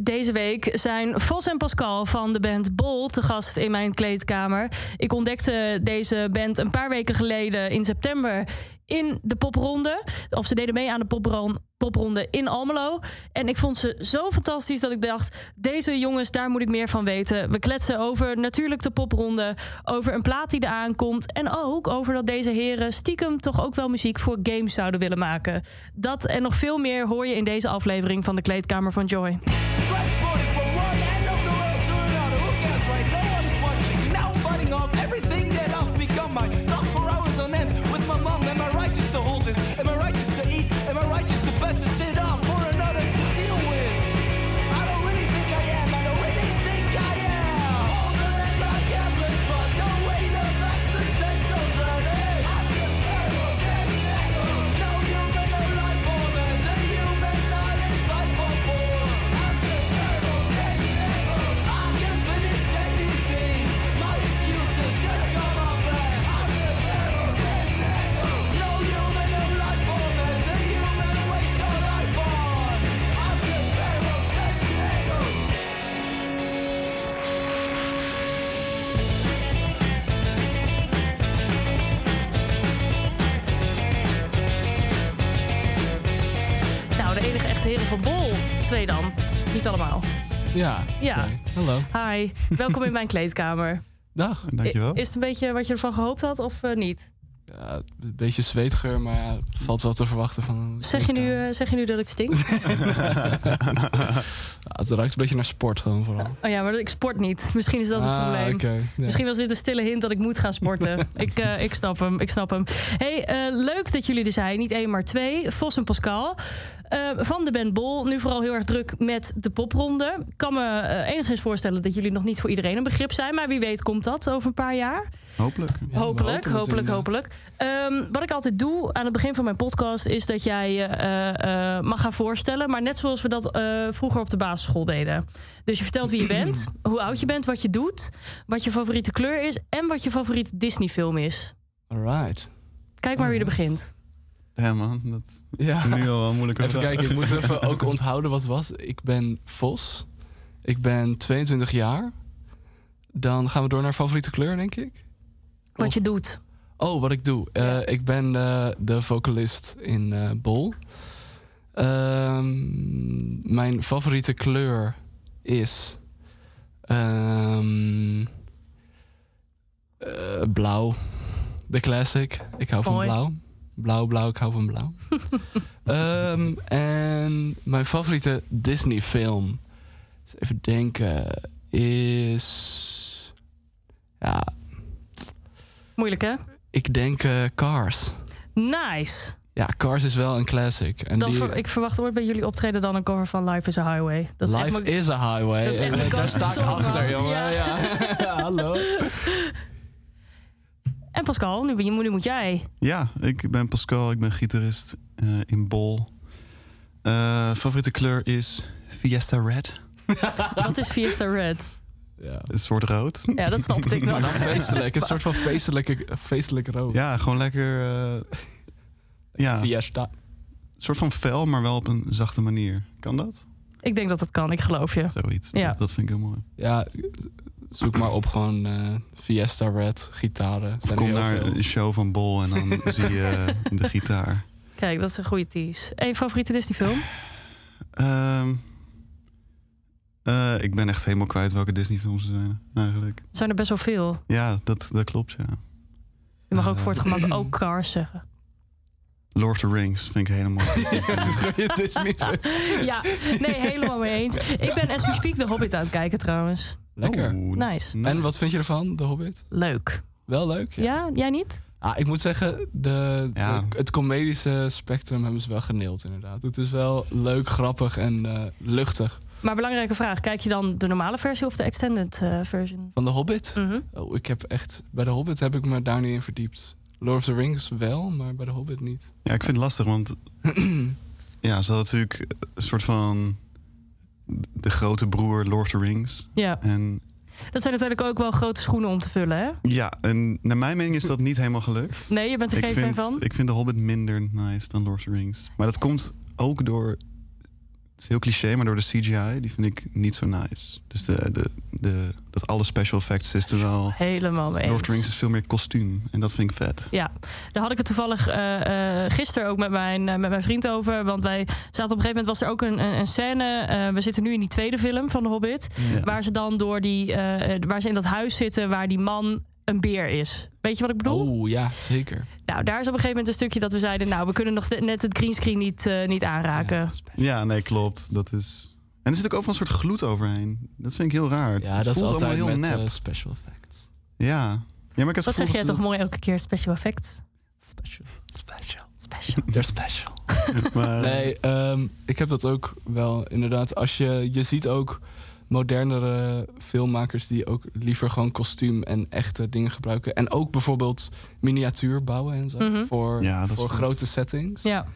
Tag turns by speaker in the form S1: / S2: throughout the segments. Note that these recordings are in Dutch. S1: Deze week zijn Vos en Pascal van de band Bol te gast in mijn kleedkamer. Ik ontdekte deze band een paar weken geleden in september in de popronde. Of ze deden mee aan de popron- popronde in Almelo. En ik vond ze zo fantastisch dat ik dacht... deze jongens, daar moet ik meer van weten. We kletsen over natuurlijk de popronde... over een plaat die er aankomt... en ook over dat deze heren stiekem toch ook wel muziek voor games zouden willen maken. Dat en nog veel meer hoor je in deze aflevering van de Kleedkamer van Joy.
S2: Transported from one end of the world to another. Who cares, right? No one is watching. Now I'm fighting off everything that I've become. I talk for hours on end with my mom. Am I righteous to hold this? Am I righteous to eat? Am I righteous to best to sit up for another to deal with? I don't really think I am. I don't really think I am. Older and not careless, but no way the best essential journey. No human, no life form is a human, not insightful form. I can finish anything. My excuses just come out bad. No human of life form is a human waste of life form. I'm just Pharaoh, just Pharaoh.
S1: Nou, de enige echte heren van Bol. Twee dan. Niet allemaal.
S3: Ja.
S1: Ja.
S3: sorry. Hallo.
S1: Hi, welkom in mijn kleedkamer.
S3: Dag.
S4: Dankjewel.
S1: Is het een beetje wat je ervan gehoopt had of eh, niet?
S3: Ja, een beetje zweetgeur, maar ja, valt wel te verwachten van. een
S1: Zeg je, nu,
S3: kleedkamer.
S1: eh, zeg je nu dat ik stink?
S3: Ja, het ruikt een beetje naar sport gewoon vooral.
S1: Oh eh, ja, maar ik sport niet. Misschien is dat het
S3: Ah,
S1: probleem.
S3: oké. Ja.
S1: Misschien was dit een stille hint dat ik moet gaan sporten. ik, eh, ik snap hem, ik snap hem. hey, eh, leuk dat jullie er zijn. Niet één, maar twee. Vos en Pascal. eh, van de band Bol. Nu vooral heel erg druk met de popronde. Ik kan me eh, enigszins voorstellen dat jullie nog niet voor iedereen een begrip zijn. Maar wie weet komt dat over een paar jaar.
S4: Hopelijk.
S3: Ja, we
S1: hopelijk,
S3: hopen het
S1: hopelijk,
S3: in, eh,
S1: hopelijk. Ehm, wat ik altijd doe aan het begin van mijn podcast is dat jij je eh, eh, mag gaan voorstellen. Maar net zoals we dat eh, vroeger op de basisschool deden. Dus je vertelt wie je bent, hoe oud je bent, wat je doet, wat je favoriete kleur is en wat je favoriete Disney-film is.
S3: Alright.
S1: Kijk maar wie er
S3: Oh,
S1: begint.
S4: Ja man, dat is
S3: Ja.
S4: nu al wel moeilijk.
S3: Even kijken, ik moet even ook onthouden wat het was. Ik ben Vos. Ik ben 22 jaar. Dan gaan we door naar favoriete kleur, denk ik.
S1: Wat je doet.
S3: Oh, wat ik doe. Eh,
S1: Ja.
S3: Ik ben eh, de vocalist in eh, Bol. Ehm, mijn favoriete kleur is ehm, eh, blauw. De classic. Ik hou
S1: Mooi.
S3: van blauw. Blauw, blauw, ik hou van blauw. Ehm, en mijn favoriete Disney film. Eens even denken. Is. Ja,
S1: Moeilijk hè?
S3: ik denk eh, Cars.
S1: Nice.
S3: Ja, Cars is wel een classic. En
S1: Dan
S3: die,
S1: ver- ik verwacht ooit bij jullie optreden dan een cover van Life is a Highway. Dat is echt
S3: Life
S1: mijn-
S3: is a highway.
S1: Dat is echt
S3: En,
S1: mijn
S3: eh, daar
S1: Cars
S3: sta ik
S1: song, man.
S3: achter, jongen.
S1: Ja.
S3: Ja. Ja, hallo.
S1: En Pascal, nu, ben je, nu moet jij.
S4: Ja, ik ben Pascal, ik ben gitarist eh, in Bol. Eh, favoriete kleur is Fiesta Red,
S1: Dat is Fiesta Red.
S3: Ja.
S4: een soort rood.
S1: Ja, dat snapte ik wel.
S3: Maar dan feestelijk. Een soort van feestelijke, feestelijk rood.
S4: Ja, gewoon lekker. eh, ja, een
S3: Fiesta.
S4: soort van fel, maar wel op een zachte manier. Kan dat?
S1: Ik denk dat dat kan, ik geloof je.
S4: Zoiets.
S1: Ja.
S4: Dat, dat vind ik heel mooi.
S3: Ja, zoek maar op gewoon eh, Fiesta Red, gitaren.
S4: Of
S3: Zijn
S4: kom
S3: heel
S4: naar
S3: veel.
S4: een show van Bol en dan zie je eh, de gitaar.
S1: Kijk, dat is een goede tease. En je favoriete Disney-film?
S4: Ehm, eh, ik ben echt helemaal kwijt welke Disney-films er zijn, eigenlijk.
S1: Er zijn er best wel veel.
S4: Ja, dat, dat klopt, ja.
S1: Je mag ook
S4: Eh,
S1: voor het gemak ook Cars zeggen.
S4: Lord of the Rings vind ik helemaal.
S3: Ja, goeie Disney
S4: Oh,
S3: film.
S1: Ja, nee, helemaal mee eens. Ik ben as we speak de Hobbit aan het kijken trouwens.
S3: Lekker.
S4: Oeh,
S1: Nice.
S4: nou,
S3: En wat vind je ervan, The Hobbit?
S1: Leuk.
S3: Wel leuk?
S1: Ja, jij niet?
S3: Ah, ik moet zeggen, de,
S4: Ja.
S3: de- het comedische spectrum hebben ze wel geneeld, inderdaad. Het is wel leuk, grappig en eh, luchtig.
S1: Maar belangrijke vraag. Kijk je dan de normale versie of de extended eh, version?
S3: Van de Hobbit?
S1: Mhm.
S3: Oh, ik heb echt... Bij de Hobbit heb ik me daar niet in verdiept. Lord of the Rings wel, maar bij de Hobbit niet.
S4: Ja, ik vind het lastig, want ja, ze hadden natuurlijk een soort van de grote broer Lord of the Rings.
S1: Ja,
S4: En
S1: dat zijn natuurlijk ook wel grote schoenen om te vullen, hè?
S4: ja, en naar mijn mening is dat niet helemaal gelukt.
S1: Nee, je bent er
S4: Ik
S1: geen fan
S4: vind,
S1: van?
S4: ik vind de Hobbit minder nice dan Lord of the Rings. Maar dat komt ook door Het is heel cliché, maar door de CGI, die vind ik niet zo nice. Dus de, de, de, dat alle special effects is er wel...
S1: Helemaal mee.
S4: Lord
S1: eens.
S4: of the Rings is veel meer kostuum. En dat vind ik vet.
S1: Ja, daar had ik het toevallig eh, eh, gisteren ook met mijn, eh, met mijn vriend over. Want wij zaten op een gegeven moment, was er ook een, een, een scène. eh, we zitten nu in die tweede film van The Hobbit.
S4: Ja.
S1: Waar ze dan door die, eh, waar ze in dat huis zitten waar die man een beer is. Weet je wat ik bedoel?
S3: Oh ja, zeker.
S1: Nou, daar is op een gegeven moment een stukje dat we zeiden... nou, we kunnen nog net het greenscreen niet, eh, niet aanraken.
S3: Ja,
S4: Ja, nee, klopt. Dat is... En er zit ook overal een soort gloed overheen. Dat vind ik heel raar.
S3: Ja,
S4: Het
S3: dat is
S4: voelt
S3: altijd
S4: allemaal heel
S3: met
S4: nep.
S3: eh, special effects.
S4: Ja. ja, maar ik heb het
S1: dat
S4: gevoel
S1: zeg jij
S4: ze
S1: toch
S4: dat-
S1: mooi elke keer, special effects.
S3: Special. Special.
S1: Special.
S3: They're special.
S4: Maar,
S3: Nee, ehm, ik heb dat ook wel inderdaad. Als je, je ziet ook modernere filmmakers die ook liever gewoon kostuum en echte dingen gebruiken. En ook bijvoorbeeld miniatuur bouwen en zo.
S1: Mhm.
S3: Voor,
S4: Ja, dat is
S3: voor
S4: vet.
S3: grote settings.
S1: Ja,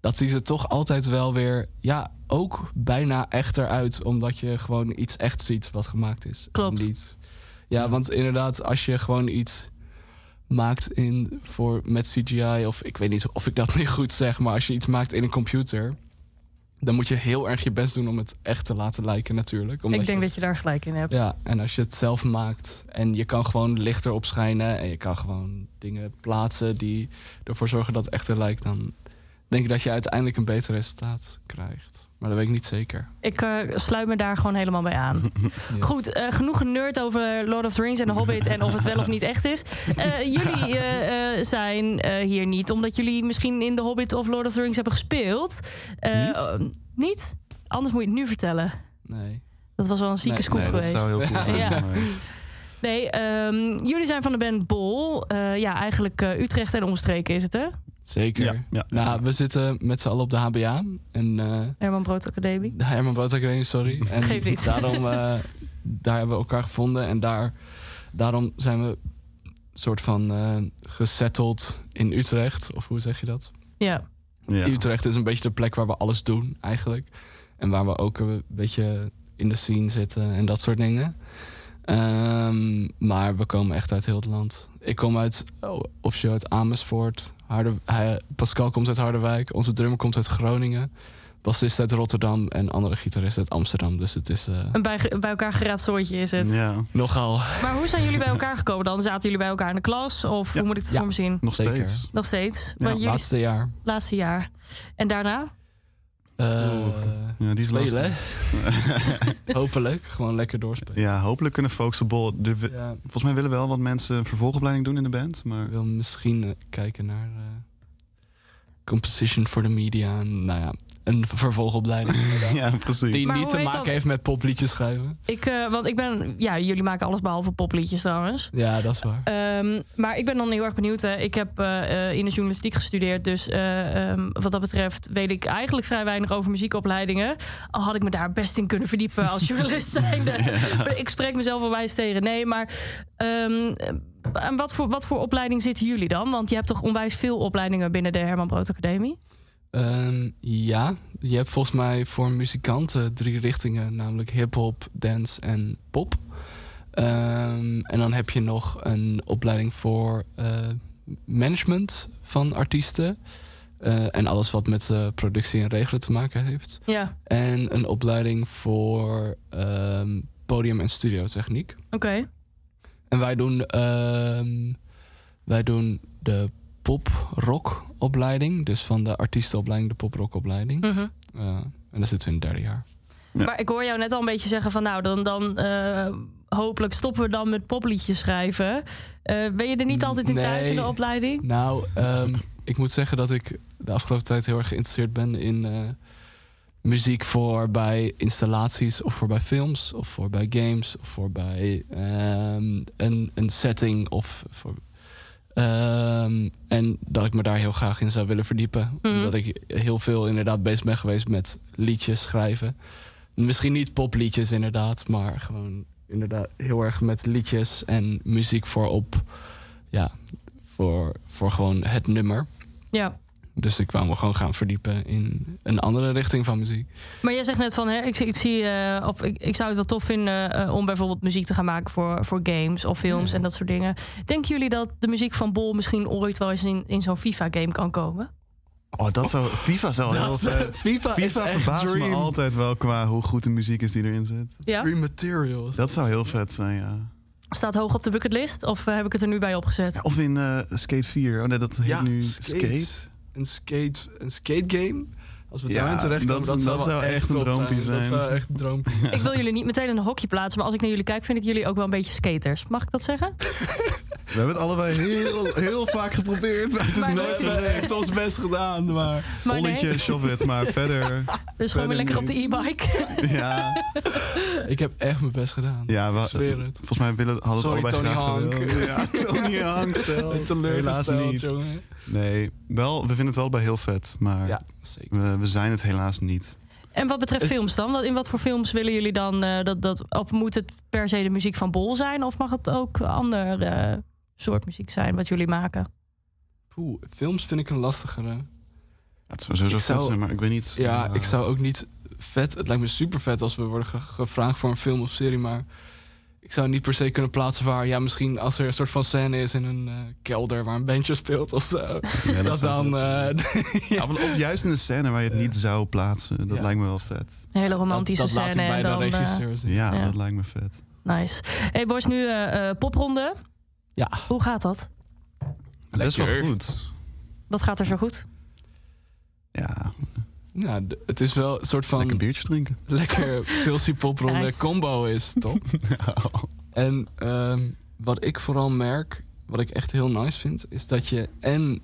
S3: Dat zien ze toch altijd wel weer, ja, ook bijna echter uit. Omdat je gewoon iets echt ziet wat gemaakt is. en
S1: Klopt.
S3: Niet, ja,
S4: Ja.
S3: want inderdaad, als je gewoon iets maakt in voor, met CGI... of ik weet niet of ik dat nu goed zeg... maar als je iets maakt in een computer... dan moet je heel erg je best doen om het echt te laten lijken natuurlijk. Omdat
S1: ik denk
S3: je-
S1: dat je daar gelijk in hebt.
S3: ja, en als je het zelf maakt en je kan gewoon lichter opschijnen en je kan gewoon dingen plaatsen die ervoor zorgen dat het echter lijkt, dan denk ik dat je uiteindelijk een beter resultaat krijgt. Maar dat weet ik niet zeker.
S1: Ik eh, sluit me daar gewoon helemaal bij aan.
S3: Yes.
S1: Goed, eh, genoeg generd over Lord of the Rings en The Hobbit en of het wel of niet echt is. Eh, jullie eh, eh, zijn eh, hier niet, omdat jullie misschien in The Hobbit of Lord of the Rings hebben gespeeld. Eh,
S4: Niet?
S1: eh, niet? Anders moet je het nu vertellen.
S3: Nee.
S1: Dat was wel een zieke
S3: Nee,
S1: scoop
S4: nee, dat
S1: geweest.
S4: zou heel cool zijn.
S1: Ja.
S4: maar-
S1: Nee, ehm, jullie zijn van de band Bol. Eh, ja, eigenlijk eh, Utrecht en omstreken is het, hè?
S3: Zeker.
S4: Ja, ja, ja.
S3: Nou, we zitten met z'n allen op de HBA en eh,
S1: Herman Brood Academie.
S3: de Herman Brood Academie, sorry. En
S1: Geeft niet.
S3: daarom eh, daar hebben we elkaar gevonden en daar, daarom zijn we soort van eh gesetteld in Utrecht. Of hoe zeg je dat?
S1: Ja,
S4: Ja.
S3: Utrecht is een beetje de plek waar we alles doen eigenlijk. En waar we ook een beetje in de scene zitten en dat soort dingen. Ehm, maar we komen echt uit heel het land. Ik kom uit, oh, officieel uit Amersfoort. Harder, hij- Pascal komt uit Harderwijk. Onze drummer komt uit Groningen. Bassist uit Rotterdam en andere gitarist uit Amsterdam. Dus het is eh,
S1: een bij, bij elkaar geraapt soortje is het.
S4: Ja,
S3: nogal.
S1: Maar hoe zijn jullie bij elkaar gekomen dan? Zaten jullie bij elkaar in de klas? Of
S4: Ja.
S1: hoe moet ik het
S3: Ja.
S1: voor me zien?
S4: nog
S3: Zeker.
S4: steeds.
S1: Nog steeds.
S4: Ja,
S1: Want jullie
S3: Laatste jaar.
S1: laatste jaar. En daarna?
S3: Eh,
S4: Oeh. Ja, die is
S3: spelen,
S4: lastig.
S3: hè? Hopelijk. Gewoon lekker doorspelen.
S4: Ja, hopelijk kunnen folks op bol... er wi-
S3: Ja.
S4: Volgens mij willen wel wat mensen een vervolgopleiding doen in de band. Maar
S3: Ik wil misschien eh, kijken naar eh, Composition for the Media. En, nou ja, een vervolgopleiding.
S4: ja, precies.
S3: Die
S1: Maar
S3: niet
S1: hoe
S3: te
S1: heet
S3: maken
S1: dat?
S3: heeft met popliedjes schrijven.
S1: Ik, eh, want ik ben... Ja, jullie maken alles behalve popliedjes trouwens.
S3: Ja, dat is waar.
S1: Ehm, maar ik ben dan heel erg benieuwd. Hè. Ik heb eh, eh, in de journalistiek gestudeerd. Dus eh, ehm, wat dat betreft weet ik eigenlijk vrij weinig over muziekopleidingen. Al had ik me daar best in kunnen verdiepen als journalist zijnde. Ik spreek mezelf wel wijs tegen. Nee, maar ehm, aan wat voor, wat voor opleiding zitten jullie dan? Want je hebt toch onwijs veel opleidingen binnen de Herman Brood Academie?
S3: Ehm, ja, je hebt volgens mij voor muzikanten drie richtingen. Namelijk hip-hop, dance en pop. Ehm, en dan heb je nog een opleiding voor eh, management van artiesten. Eh, en alles wat met eh, productie en regelen te maken heeft.
S1: Ja,
S3: En een opleiding voor ehm, podium- en studiotechniek.
S1: oké.
S3: En wij doen, ehm, wij doen de pop-rock opleiding. Dus van de artiestenopleiding, de pop-rock opleiding.
S1: Mhm.
S3: Eh, en daar zitten we in het derde jaar.
S4: Ja.
S1: Maar ik hoor jou net al een beetje zeggen van nou, dan, dan eh, hopelijk stoppen we dan met popliedjes schrijven. Eh, ben je er niet altijd in thuis in de
S3: Nee.
S1: opleiding?
S3: Nou, ehm, ik moet zeggen dat ik de afgelopen tijd heel erg geïnteresseerd ben in eh, muziek voor bij installaties of voor bij films of voor bij games of voor bij ehm, een, een setting of voor. ehm, en dat ik me daar heel graag in zou willen verdiepen.
S1: Mhm.
S3: Omdat ik heel veel inderdaad bezig ben geweest met liedjes schrijven. Misschien niet popliedjes inderdaad, maar gewoon inderdaad heel erg met liedjes en muziek voor op. Ja, voor, voor gewoon het nummer.
S1: Ja.
S3: Dus ik wou me gewoon gaan verdiepen in een andere richting van muziek.
S1: Maar jij zegt net van, hè, ik, zie- ik zie, eh, of ik, ik zou het wel tof vinden eh, om bijvoorbeeld muziek te gaan maken voor, voor games of films
S3: Ja.
S1: en dat soort dingen. Denken jullie dat de muziek van Bol misschien ooit wel eens in, in zo'n FIFA-game kan komen?
S4: Oh, dat zou... FIFA zou heel
S3: Dat,
S4: vet...
S3: FIFA, is
S4: FIFA
S3: echt
S4: verbaast
S3: dream,
S4: me altijd wel qua hoe goed de muziek is die erin zit.
S1: Ja?
S3: dream materials.
S4: Dat zou heel vet zijn, ja.
S1: Staat hoog op de bucketlist of eh, heb ik het er nu bij opgezet?
S4: Of in eh, Skate 4. Oh nee, dat heet
S3: ja,
S4: nu
S3: skate. Een skate, een skate game. Als we
S4: Ja,
S3: daar terecht komen,
S4: dat-
S3: dat,
S4: dat
S3: wel
S4: zou echt een
S3: top
S4: droompie
S3: Dat
S4: zijn.
S3: zou echt een droompie zijn.
S1: Ik wil jullie niet meteen in een hokje plaatsen, maar als ik naar jullie kijk, vind ik jullie ook wel een beetje skaters. Mag ik dat zeggen?
S4: We hebben het allebei heel, heel vaak geprobeerd, maar het is
S1: Maar
S3: We
S1: nooit
S4: nooit
S1: iets.
S3: hebben echt ons best gedaan, maar...
S1: Maar
S4: Olletje,
S1: nee,
S4: shove it, maar verder.
S1: dus gewoon weer lekker op de e-bike.
S4: Ja,
S3: Ik heb echt mijn best gedaan.
S4: ja we,
S3: Ik zweer het.
S4: volgens mij willen, hadden we
S3: Sorry,
S4: het allebei
S3: Tony
S4: graag
S3: Hank.
S4: gewild. Ja, Tony Hank, stel.
S3: Ik
S4: Helaas
S3: teleurgesteld,
S4: niet.
S3: jongen.
S4: Nee, wel, we vinden het wel bij heel vet, maar
S3: Ja, zeker.
S4: we, we zijn het helaas niet.
S1: En wat betreft films dan? Wat- In wat voor films willen jullie dan eh, dat, dat? Of moet het per se de muziek van Bol zijn? Of mag het ook ander eh, soort muziek zijn wat jullie maken?
S3: Poeh, films vind ik een lastigere.
S4: Het zou sowieso
S3: Ik zou-
S4: vet zijn, maar ik weet niet.
S3: Ja,
S4: eh,
S3: ik zou ook niet vet. Het lijkt me super vet als we worden ge- gevraagd voor een film of serie, maar ik zou niet per se kunnen plaatsen waar. Ja, misschien als er een soort van scène is in een eh, kelder waar een bandje speelt of zo.
S4: ja,
S3: dat,
S4: zou
S3: dan.
S4: vet zijn.
S3: eh,
S4: Ja, of, of juist in een scène waar je het niet zou plaatsen. Dat
S3: Ja.
S4: lijkt me wel vet.
S1: Een hele romantische
S3: dat, dat laat
S1: scène. en
S3: ik bij de
S1: dan, eh,
S3: regisseur zien.
S4: Ja,
S1: Ja.
S4: dat lijkt me vet.
S1: nice. Hey boys, nu eh, eh, popronde.
S3: Ja.
S1: Hoe gaat dat?
S4: Best
S3: Lekker.
S4: wel goed.
S1: Wat gaat er zo goed?
S4: Ja,
S3: Ja, d- het is wel een soort van
S4: lekker
S3: lekker,
S4: biertje drinken.
S3: pilsie popronde
S1: Nice. Nou.
S3: combo is, toch? En ehm, wat ik vooral merk, wat ik echt heel nice vind, is dat je en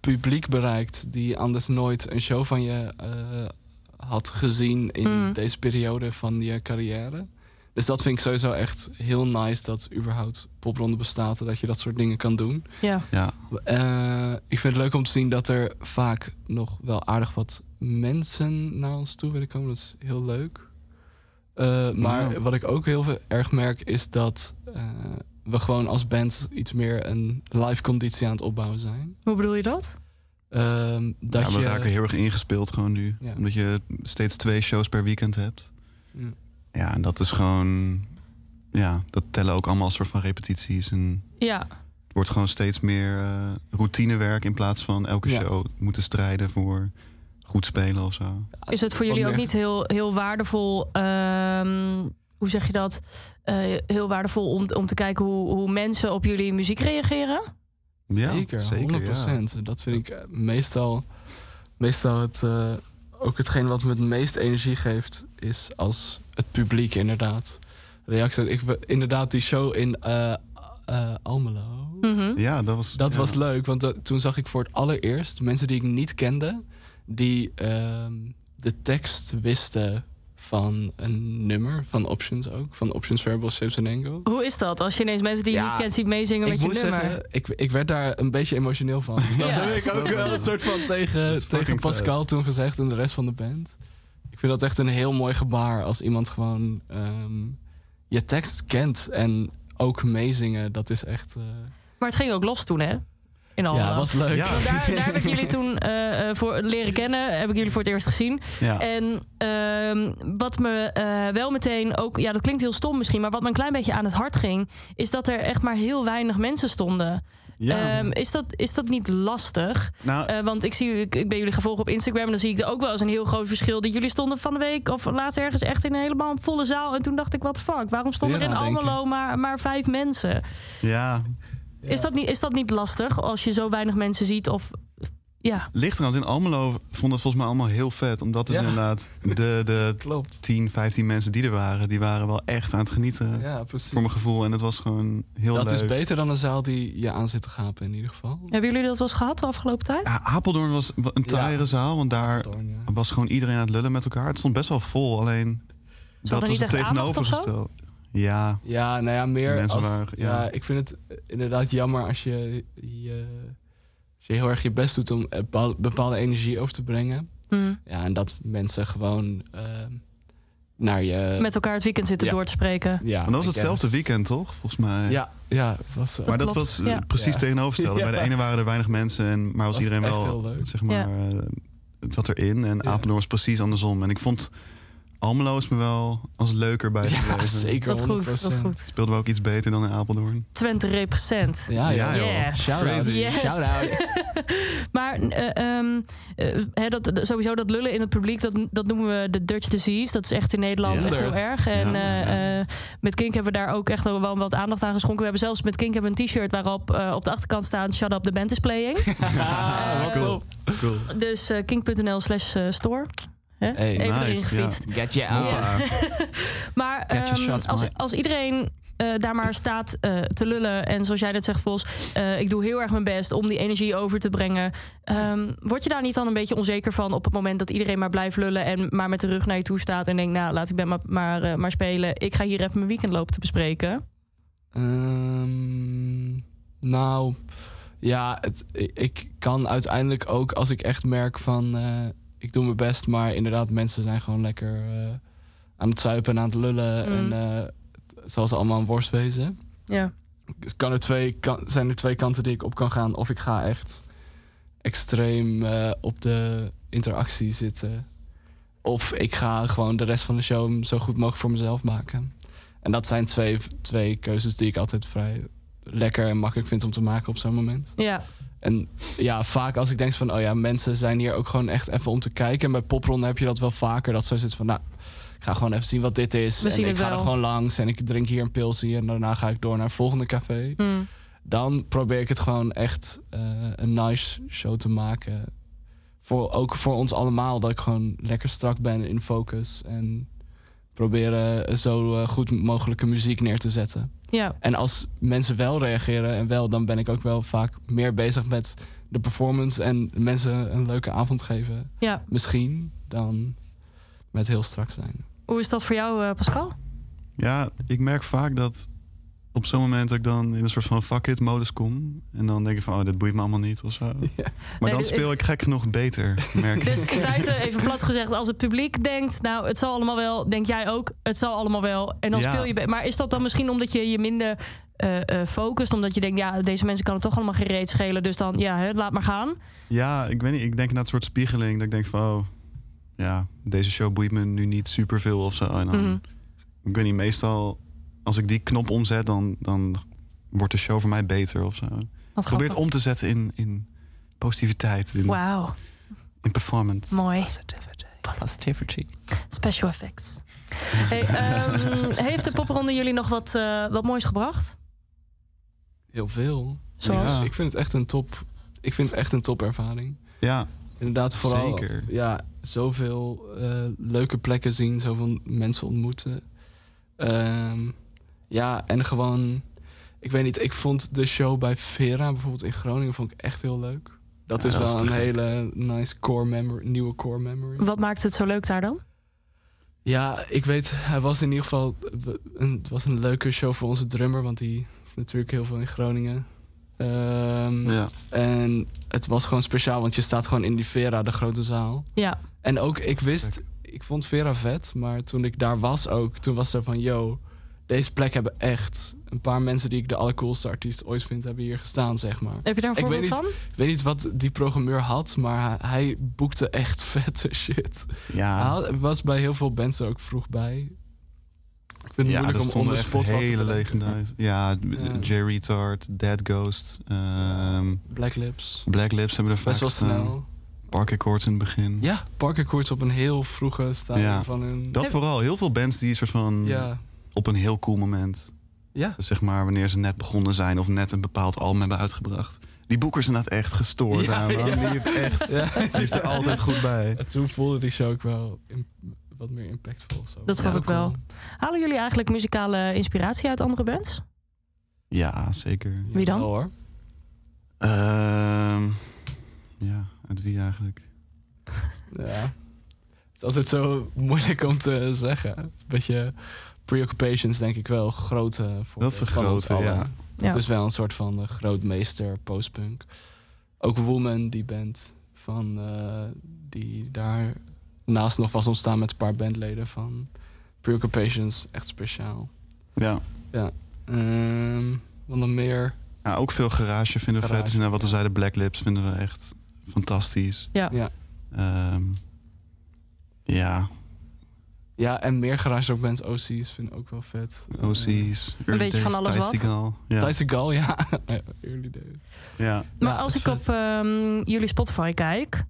S3: publiek bereikt die anders nooit een show van je eh, had gezien in
S1: Mm.
S3: deze periode van je carrière. Dus dat vind ik sowieso echt heel nice dat überhaupt popronde bestaat en dat je dat soort dingen kan doen.
S1: Ja.
S4: Ja,
S3: Eh, ik vind het leuk om te zien dat er vaak nog wel aardig wat mensen naar ons toe willen komen. Dat is heel leuk. Eh, maar
S4: Ja.
S3: wat ik ook heel ve- erg merk is dat eh, we gewoon als band iets meer een live conditie aan het opbouwen zijn.
S1: Hoe bedoel je dat?
S3: Ehm, dat
S4: ja we
S3: je,
S4: raken heel erg ingespeeld gewoon nu.
S3: Ja.
S4: Omdat je steeds twee shows per weekend hebt.
S3: Ja.
S4: Ja, en dat is gewoon... Ja, dat tellen ook allemaal als soort van repetities. En
S1: Ja,
S4: het wordt gewoon steeds meer eh, routinewerk... in plaats van elke
S3: Ja.
S4: show moeten strijden voor goed spelen of zo.
S1: is het voor
S3: Wat
S1: jullie ook
S3: meer-
S1: niet heel, heel waardevol? ehm, hoe zeg je dat? Eh, heel waardevol om, om te kijken hoe, hoe mensen op jullie muziek reageren?
S4: Ja,
S3: zeker, 100%.
S4: ja.
S3: Dat vind ik eh, meestal, meestal het, eh, ook hetgeen wat me het meest energie geeft, is als het publiek inderdaad reactie. Ik, we- inderdaad, die show in eh, eh, Almelo.
S1: Mhm.
S4: Ja, dat was...
S3: Dat
S4: ja.
S3: was leuk, want dat- toen zag ik voor het allereerst mensen die ik niet kende, die ehm, de tekst wisten van een nummer, van Options ook, van Options Variable Shapes and Angles.
S1: Hoe is dat als je ineens mensen die je
S3: Ja,
S1: niet kent ziet meezingen met
S3: ik
S1: je
S3: moet
S1: nummer?
S3: zeggen, ik, ik werd daar een beetje emotioneel van. Dat
S1: Ja.
S3: heb ik ook wel een soort van
S4: Dat
S3: tegen,
S4: is
S3: tegen
S4: fucking
S3: Pascal
S4: vet.
S3: toen gezegd en de rest van de band. Ik vind dat echt een heel mooi gebaar als iemand gewoon ehm, je tekst kent en ook meezingen. Dat is echt. eh,
S1: Maar het ging ook los toen, hè? In Almelo.
S3: ja, was leuk.
S4: Ja.
S1: Want daar, daar heb ik jullie toen eh, eh, voor leren kennen. Heb ik jullie voor het eerst gezien.
S4: Ja.
S1: En ehm, wat me eh, wel meteen ook... Ja, dat klinkt heel stom misschien. Maar wat me een klein beetje aan het hart ging... is dat er echt maar heel weinig mensen stonden.
S4: Ja.
S1: Ehm, is, dat, is dat niet lastig?
S4: nou,
S1: Eh, want ik, zie, ik, ik ben jullie gevolgd op Instagram... en dan zie ik er ook wel eens een heel groot verschil... dat jullie stonden van de week of laatst ergens echt in een helemaal volle zaal... en toen dacht ik, wat the fuck? Waarom stonden er in
S3: Ja, nou, denk je.
S1: Almelo maar, maar vijf mensen?
S4: ja,
S1: Is, dat niet, is dat niet lastig als je zo weinig mensen ziet? Of, ja,
S4: Licht eraan, in Almelo vond dat volgens mij allemaal heel vet. Omdat is
S3: Ja.
S4: inderdaad de, de
S3: Klopt.
S4: 10, 15 mensen die er waren, die waren wel echt aan het genieten.
S3: Ja, precies.
S4: Voor mijn gevoel. En het was gewoon heel
S3: dat
S4: leuk.
S3: is beter dan een zaal die je aan zit te gapen in ieder geval.
S1: hebben jullie dat wel eens gehad de afgelopen tijd?
S4: Ja, Apeldoorn was wa- een taaiere
S3: Ja.
S4: zaal, want daar
S3: Doorn, ja.
S4: was gewoon iedereen aan het lullen met elkaar. Het stond best wel vol, alleen
S1: er
S4: dat
S1: niet
S4: was het
S1: echt aandacht of zo?
S4: tegenovergestelde. Ja,
S3: Ja, nou ja, meer
S4: Mensen
S3: als,
S4: waren- ja.
S3: ja. ik vind het eh, inderdaad jammer als je, je, als je heel erg je best doet om eh, bepaal- bepaalde energie over te brengen.
S1: Hm.
S3: Ja, en dat mensen gewoon eh, naar je...
S1: Met elkaar het weekend zitten
S3: Ja.
S1: door te spreken.
S3: ja,
S4: en dat was
S3: I
S4: hetzelfde
S3: guess.
S4: weekend, toch? Volgens mij.
S3: Ja, ja, was zo.
S4: maar dat,
S1: Dat klopt,
S4: was eh,
S1: ja.
S4: precies
S3: Ja.
S4: tegenovergestelde. Bij de
S3: Ja.
S4: ene waren er weinig mensen, en, maar was,
S3: Was
S4: iedereen
S3: echt
S4: wel,
S3: heel leuk.
S4: zeg maar, eh, het zat erin. En
S3: Ja.
S4: Apeldoorn was precies andersom. En ik vond Almelo is me wel als leuker bij gebleven.
S3: Ja, zeker.
S1: Wat goed, wat
S3: 100%.
S1: goed.
S4: Speelden we ook iets beter dan in Apeldoorn.
S1: Twente represent.
S3: Ja, ja.
S4: Ja, joh.
S1: Yeah.
S3: Shout-out.
S4: Crazy.
S1: Yes.
S3: Shout-out.
S1: Maar eh, ehm, eh, hè, dat, dat- sowieso dat lullen in het publiek, dat, dat noemen we de Dutch disease. Dat is echt in Nederland
S4: Ja.
S1: echt heel erg. En
S4: Ja.
S1: eh, eh, met Kink hebben we daar ook echt wel wat aandacht aan geschonken. We hebben zelfs met Kink hebben we een t-shirt waarop eh, op de achterkant staan... Shut up, the band is playing.
S3: Ah, wat
S1: Cool.
S3: op.
S4: Cool.
S1: dus eh, kink.nl slash eh, store. Hè?
S3: Hey,
S1: Even
S4: nice,
S1: erin gefietst.
S3: Get je
S4: Ja.
S3: out.
S1: Maar
S3: Get your
S1: ehm,
S3: shots,
S1: als,
S3: Mike.
S1: als iedereen eh, daar maar staat eh, te lullen... en zoals jij dat zegt, Vos, eh, ik doe heel erg mijn best om die energie over te brengen... ehm, word je daar niet dan een beetje onzeker van... op het moment dat iedereen maar blijft lullen... en maar met de rug naar je toe staat en denkt... nou, laat ik ben maar, maar, eh, maar spelen. Ik ga hier even mijn weekend lopen te bespreken.
S3: Ehm, nou, ja, het, ik- ik kan uiteindelijk ook als ik echt merk van... eh, ik doe mijn best, maar inderdaad, mensen zijn gewoon lekker eh, aan het zuipen en aan het lullen.
S1: Mm.
S3: En eh, het- zoals ze allemaal een worstwezen.
S1: Ja.
S3: Dus kan er twee, kan, zijn er twee kanten die ik op kan gaan. Of ik ga echt extreem eh, op de interactie zitten. Of ik ga gewoon de rest van de show zo goed mogelijk voor mezelf maken. En dat zijn twee, twee keuzes die ik altijd vrij lekker en makkelijk vind om te maken op zo'n moment.
S1: ja.
S3: En ja, vaak als ik denk van, oh ja, mensen zijn hier ook gewoon echt even om te kijken. En bij popronden heb je dat wel vaker. Dat zo zit van, nou, ik ga gewoon even zien wat dit is.
S1: We zien
S3: en ik
S1: het
S3: ga er
S1: wel.
S3: gewoon langs en ik drink hier een pils hier. En daarna ga ik door naar het volgende café.
S1: Hmm.
S3: Dan probeer ik het gewoon echt eh, een nice show te maken. Voor, ook voor ons allemaal, dat ik gewoon lekker strak ben in focus. En proberen zo eh, goed mogelijke muziek neer te zetten.
S1: Ja.
S3: En als mensen wel reageren en wel, dan ben ik ook wel vaak meer bezig met de performance en mensen een leuke avond geven.
S1: ja.
S3: Misschien dan met heel strak zijn.
S1: Hoe is dat voor jou, eh, Pascal?
S4: Ja, ik merk vaak dat op zo'n moment dat ik dan in een soort van fuck it modus kom. En dan denk ik van, oh, dit boeit me allemaal niet of zo. Maar
S1: Nee,
S4: dan
S1: dus
S4: speel ik gek genoeg beter, merk ik.
S1: Dus in feite, even plat gezegd, als het publiek denkt... nou, het zal allemaal wel, denk jij ook, het zal allemaal wel. En dan
S4: Ja.
S1: speel je... be- Maar is dat dan misschien omdat je je minder eh, eh, focust? Omdat je denkt, ja, deze mensen kan het toch allemaal geen reet schelen... dus dan, ja, hè, laat maar gaan.
S4: Ja, ik weet niet. Ik denk na het soort spiegeling dat ik denk van, oh, ja, deze show boeit me nu niet superveel of zo. En
S3: Nou,
S4: dan,
S1: Mhm.
S4: Ik weet niet, meestal als ik die knop omzet, dan, dan wordt de show voor mij beter of zo.
S1: Wat
S4: Probeer het
S1: grappig.
S4: om te zetten in, in positiviteit, in,
S1: Wauw,
S4: in performance.
S1: mooi.
S3: Positivity.
S1: Special effects. Hey, ehm, heeft de popronde jullie nog wat, eh, wat moois gebracht?
S3: Heel veel.
S1: Zoals?
S4: Ja.
S3: Ik vind het echt een top. Ik vind het echt een topervaring.
S4: Ja,
S3: Inderdaad, vooral
S4: Zeker.
S3: Ja, zoveel eh, leuke plekken zien, zoveel mensen ontmoeten. Ehm, ja, en gewoon, ik weet niet, ik vond de show bij Vera bijvoorbeeld in Groningen vond ik echt heel leuk. Dat
S4: Ja,
S3: is
S4: dat is
S3: wel
S4: te
S3: een
S4: gek.
S3: hele nice core memory, nieuwe core memory.
S1: Wat maakt het zo leuk daar dan?
S3: Ja, ik weet, hij was in ieder geval, we- een- het was een leuke show voor onze drummer, want die is natuurlijk heel veel in Groningen. Ehm,
S4: ja.
S3: En het was gewoon speciaal, want je staat gewoon in die Vera, de grote zaal.
S1: Ja,
S3: En ook, ik wist, ik vond Vera vet, maar toen ik daar was ook, toen was er van, yo, deze plek hebben echt een paar mensen die ik de allercoolste artiest ooit vind, hebben hier gestaan, zeg maar.
S1: heb je daar een
S3: Ik
S1: voorbeeld
S3: weet
S1: van?
S3: Ik weet niet wat die programmeur had, maar hij, hij boekte echt vette shit.
S4: ja.
S3: Hij had- was bij heel veel bands er ook vroeg bij. Ik vind het
S4: ja,
S3: moeilijk
S4: dat
S3: om onder
S4: stonden echt
S3: spot wat te
S4: hele
S3: bedenken.
S4: legendarische. Ja,
S3: Ja.
S4: Jerry Retard, Dead Ghost, ehm,
S3: Black Lips.
S4: Black Lips hebben er vaak
S3: Best wel
S4: gestaan.
S3: snel.
S4: Parker Courts in het begin.
S3: Ja, Parker Koorts op een heel vroege stadium
S4: Ja.
S3: van hun...
S4: Dat vooral. Heel veel bands die soort van
S3: Ja,
S4: op een heel cool moment,
S3: ja.
S4: dus zeg maar wanneer ze net begonnen zijn of net een bepaald album hebben uitgebracht, die boekers zijn inderdaad echt gestoord.
S3: Ja,
S4: aan, man.
S3: ja.
S4: Die heeft echt,
S3: ja.
S4: die is er altijd goed bij.
S3: En toen voelde die show ook wel im- wat meer impactvol. of Zo.
S1: Dat snap
S4: Ja,
S1: ik wel. Halen jullie eigenlijk muzikale inspiratie uit andere bands?
S4: Ja, zeker.
S1: Wie dan?
S3: Ja, wel hoor.
S4: Ehm, ja, uit wie eigenlijk?
S3: Ja. Het is altijd zo moeilijk om te zeggen. Een beetje preoccupations denk ik wel. Grote voorbeeld
S4: is een
S3: van ons
S4: grote,
S3: allen.
S4: ja.
S1: Ja.
S3: Het is wel een soort van eh, grootmeester postpunk. Ook Woman, die band van, eh, die daar naast nog was ontstaan met een paar bandleden van Preoccupations. Echt speciaal.
S4: Ja.
S3: Ehm wat nog meer?
S4: Ja, ook veel garage vinden we
S3: Garage,
S4: vet. Dus inderdaad wat we
S3: ja.
S4: zeiden, Black Lips vinden we echt Ehm, fantastisch.
S1: Ja.
S3: Ja.
S4: Ehm, ja.
S3: Ja, en meer garage rock bands, OC's, vind ik ook wel vet. Ehm,
S4: OC's. Early
S1: beetje van
S4: Days,
S1: alles
S4: Ty
S1: wat.
S4: Seagal.
S3: Uh,
S4: Ja.
S3: Tyson Gall, ja. Early days.
S4: ja.
S1: Maar
S3: Ja,
S1: als
S3: dat
S1: ik
S3: is
S1: op ehm, jullie Spotify kijk,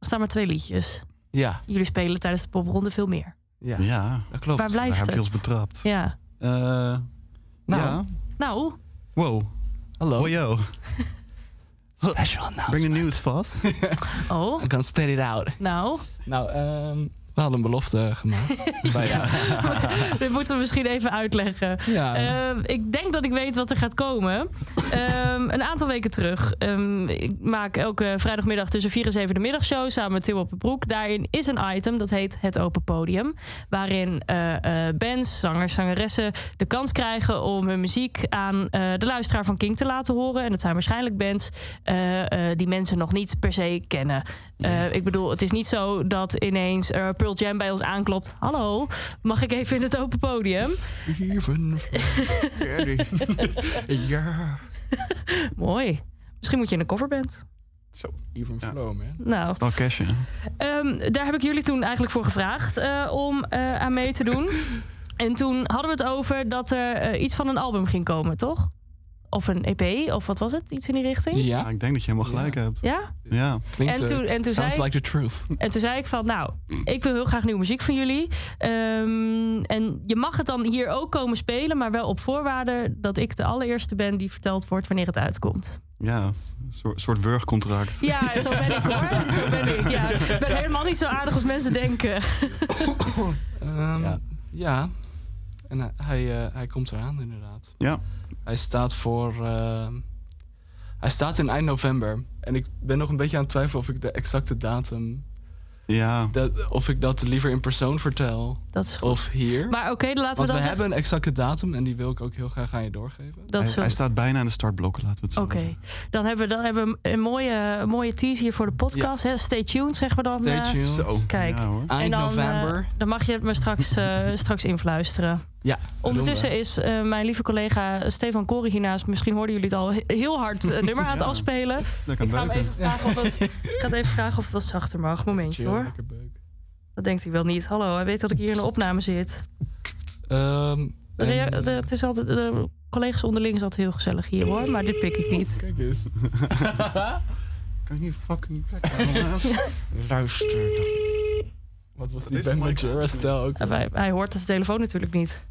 S1: staan maar twee liedjes.
S3: Ja,
S1: Jullie spelen tijdens de popronde veel meer.
S3: ja,
S4: Ja.
S3: dat klopt.
S1: Waar
S4: Daar
S1: blijft
S4: heb je ons
S1: het?
S4: betrapt.
S1: Ja.
S4: Eh,
S3: Nou,
S4: ja.
S1: Nou,
S4: Wow.
S3: hallo.
S4: Oh, yo.
S3: Special
S4: Bring the
S3: announcement.
S4: news vast.
S1: oh,
S3: I can spit it out.
S1: nou.
S3: Nou, ehm, we hadden een belofte gemaakt. Bij, ja.
S1: Dit moeten we misschien even uitleggen.
S3: Ja.
S1: Ehm, ik denk dat ik weet wat er gaat komen. Ehm, een aantal weken terug. ehm, ik maak elke vrijdagmiddag tussen 4 en 7 de middagshow samen met Tim op de Broek. Daarin is een item dat heet Het Open Podium. Waarin eh, eh, bands, zangers, zangeressen de kans krijgen om hun muziek aan eh, de luisteraar van King te laten horen. En dat zijn waarschijnlijk bands eh, eh, die mensen nog niet per se kennen. Eh, ik bedoel, het is niet zo dat ineens eh, Pearl Jam bij ons aanklopt. Hallo, mag ik even in het open podium?
S3: Even. ja.
S1: Mooi. Misschien moet je in een coverband.
S3: Zo, even
S4: Ja.
S3: flow, man.
S1: Nou,
S4: Wel cashen.
S1: ehm, daar heb ik jullie toen eigenlijk voor gevraagd eh, om eh, aan mee te doen. En toen hadden we het over dat er eh, iets van een album ging komen, toch? Of een EP, of wat was het? Iets in die richting?
S4: Ja,
S3: Ja,
S4: Ah, ik denk dat je helemaal gelijk
S3: Ja.
S4: hebt.
S1: Ja?
S4: Ja.
S3: klinkt...
S1: En
S3: eh,
S1: toen, en toen zei
S3: sounds
S1: ik...
S3: like the truth.
S1: En toen zei ik van, nou, ik wil heel graag nieuwe muziek van jullie. Ehm, en je mag het dan hier ook komen spelen, maar wel op voorwaarde dat ik de allereerste ben die verteld wordt wanneer het uitkomt.
S4: Ja. Een soort, soort wurgcontract.
S1: Ja, zo ben ik hoor. Zo ben ik. Ja, ik ben helemaal niet zo aardig als mensen denken.
S3: Ehm,
S4: Ja.
S3: ja. En hij- hij, eh, hij komt eraan, inderdaad.
S4: Ja.
S3: Hij staat voor... ehm, hij staat in eind november. En ik ben nog een beetje aan het twijfelen of ik de exacte datum...
S4: Ja.
S3: Dat, of ik dat liever in persoon vertel
S1: Dat is goed.
S3: of hier.
S1: Maar oké, dan laten we
S3: Want
S1: dan
S3: we
S1: zeggen-
S3: hebben een exacte datum en die wil ik ook heel graag aan je doorgeven.
S1: Dat
S4: Hij,
S1: is zo.
S4: hij staat bijna aan de startblokken, laten we het zo
S1: Oké,
S4: zeggen.
S1: dan hebben we, dan hebben we een mooie, een mooie tease hier voor de podcast. Hè? Stay tuned, zeggen we dan.
S3: Stay
S1: eh.
S3: tuned.
S4: Zo.
S1: Kijk.
S4: Ja, hoor.
S3: Eind
S1: En dan, eh,
S3: november.
S1: dan mag je het me straks, eh, straks influisteren.
S3: ja.
S1: Ondertussen
S3: doen
S1: is eh, mijn lieve collega Stefan Koren hiernaast. Misschien hoorden jullie het al he- heel hard een nummer aan het
S4: Ja.
S1: afspelen.
S4: Lekker
S1: Ik ga, hem
S4: beuken.
S1: even vragen of het, ik ga het even vragen of het wat zachter mag.
S3: we.
S1: Momentje
S3: Chill,
S1: hoor.
S3: lekker beuk.
S1: Dat denkt hij wel niet. Hallo, hij weet dat ik hier in de opname zit.
S3: Ehm,
S1: De
S3: en-
S1: rea- de- eh, het is altijd, de collega's onderling is altijd heel gezellig hier hoor. Maar dit pik ik niet.
S3: Kijk eens.
S4: Kan je niet fucking plek
S3: Luister dan. Wat was die
S4: is een
S3: band met
S4: mic.
S3: Jarastel ook?
S1: Eh, Hij, hij hoort de telefoon natuurlijk niet.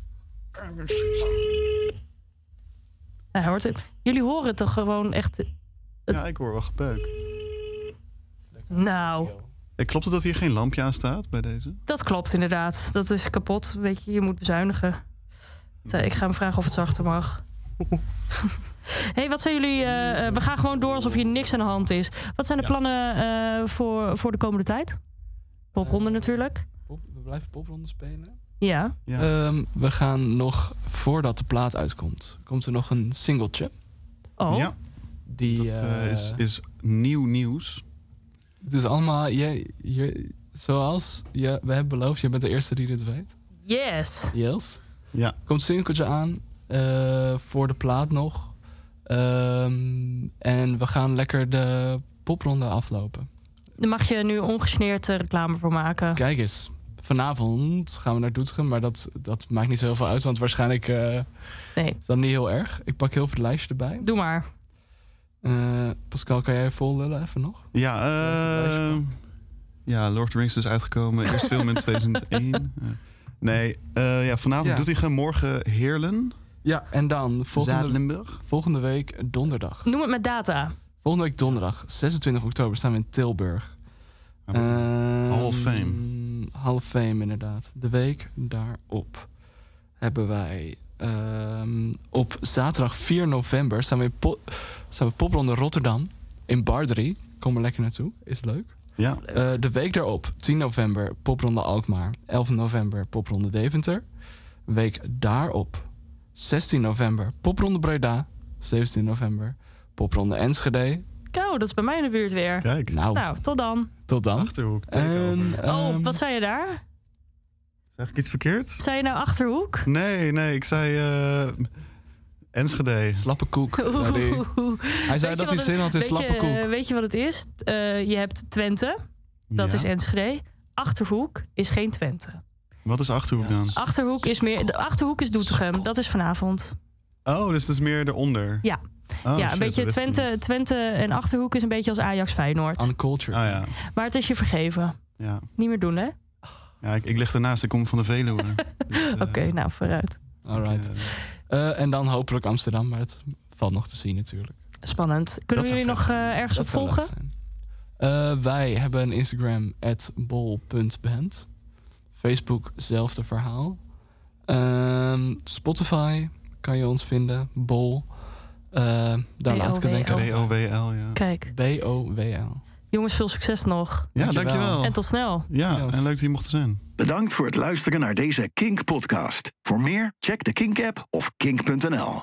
S1: Hij hoort het. Jullie horen het toch gewoon echt.
S4: Ja, ik hoor wel gebeuk.
S1: Nou,
S4: Eh, Klopt het dat hier geen lampje aan staat bij deze?
S1: dat klopt inderdaad. Dat is kapot. Weet je, je moet bezuinigen. Zo, Ik ga hem vragen of het zachter mag. hey, wat zijn jullie. eh, eh, we gaan gewoon door alsof hier niks aan de hand is. Wat zijn de
S3: Ja.
S1: plannen eh, voor, voor de komende tijd?
S3: Eh.
S1: Popronde natuurlijk.
S3: Pop- we blijven popronde spelen.
S1: Ja.
S4: Ja.
S3: Ehm, we gaan nog, voordat de plaat uitkomt, komt er nog een singeltje.
S1: Oh.
S4: Ja,
S3: Die,
S4: dat eh,
S3: eh,
S4: is, is nieuw nieuws.
S3: Het is allemaal, je, je, zoals je, we hebben beloofd, je bent de eerste die dit weet.
S1: Yes.
S3: Yes.
S4: Ja.
S3: Komt singeltje aan eh, voor de plaat nog. Ehm, en we gaan lekker de popronde aflopen.
S1: Daar mag je nu ongesneerd eh, reclame voor maken.
S3: Kijk eens. Vanavond gaan we naar Doetinchem, maar dat, dat maakt niet zo heel veel uit, want waarschijnlijk eh,
S1: Nee.
S3: is dat niet heel erg. Ik pak heel veel het lijstje erbij.
S1: Doe maar.
S3: Eh, Pascal, kan jij vol lullen even nog?
S4: Ja, eh, ja, Lord of the Rings is uitgekomen. Eerste film in 2001. Eh, nee, eh, ja, vanavond
S3: Ja.
S4: doet hij gaan morgen Heerlen,
S3: Ja, en dan volgende,
S4: Zuid-Limburg.
S3: volgende week donderdag.
S1: Noem het met data.
S3: Volgende week donderdag, 26 oktober, staan we in Tilburg.
S4: Ah,
S3: Ehm,
S4: Hall of Fame.
S3: Hall of Fame, inderdaad. De week daarop hebben wij ehm, op zaterdag 4 november staan we, in po- staan we Popronde Rotterdam in Bardry. Kom er lekker naartoe, is leuk.
S4: ja,
S3: Eh, de week daarop, 10 november, Popronde Alkmaar. 11 november, Popronde Deventer. Week daarop, 16 november, Popronde Breda. 17 november, Popronde Enschede.
S1: Kou, Oh, dat is bij mij in de buurt weer.
S4: kijk.
S3: Nou,
S1: Nou, tot dan.
S3: tot dan.
S4: Achterhoek,
S3: En,
S4: takeover.
S1: oh,
S3: ehm,
S1: wat zei je daar?
S4: Zeg ik iets verkeerd?
S1: Zei je nou Achterhoek?
S4: Nee, nee, ik zei eh, Enschede.
S3: Slappe koek. zei hij.
S1: Oeh.
S3: Hij zei
S1: Weet
S3: dat
S1: je
S3: hij
S1: wat
S3: zin had in
S1: Weet
S3: slappe
S1: je,
S3: koek.
S1: eh, weet je wat het is? Eh, je hebt Twente, dat
S4: Ja.
S1: is Enschede. Achterhoek is geen Twente.
S4: Wat is Achterhoek
S3: Ja.
S4: dan?
S1: Achterhoek is meer. De achterhoek is Doetinchem. Dat is vanavond.
S4: Oh, dus dat is meer eronder.
S1: Ja.
S4: Oh,
S1: ja, een beetje
S4: shit, dat wist ik
S1: Twente,
S4: niet.
S1: Twente en achterhoek is een beetje als Ajax Feyenoord.
S3: Uncultured.
S4: Ah ja,
S1: Maar het is je vergeven.
S4: ja.
S1: Niet meer doen, hè? Oké,
S4: ja ik, ik lig ernaast, ik kom van de Veluwe. Dus, eh, Oké,
S1: nou vooruit.
S3: Alright. Eh, en dan hopelijk Amsterdam, maar het valt nog te zien natuurlijk.
S1: Spannend. Kunnen we
S4: zou
S1: jullie
S4: vet
S1: nog
S4: zijn.
S1: eh, ergens op
S3: Dat zou leuk
S1: volgen?
S3: zijn. Eh, wij hebben een Instagram, bol.band. Facebook, zelfde verhaal. Ehm, Spotify kan je ons vinden, bol. Eh, daar laat ik het denk ik
S1: B-O-W-L.
S3: over.
S4: B-O-W-L, ja.
S1: Kijk,
S3: B-O-W-L.
S1: jongens, veel succes nog.
S4: Ja,
S3: Dankjewel.
S4: dankjewel.
S1: En tot snel.
S4: Ja,
S3: Yes.
S4: en leuk dat je mocht zijn.
S5: Bedankt voor het luisteren naar deze Kink-podcast. Voor meer, check de Kink-app of kink.nl.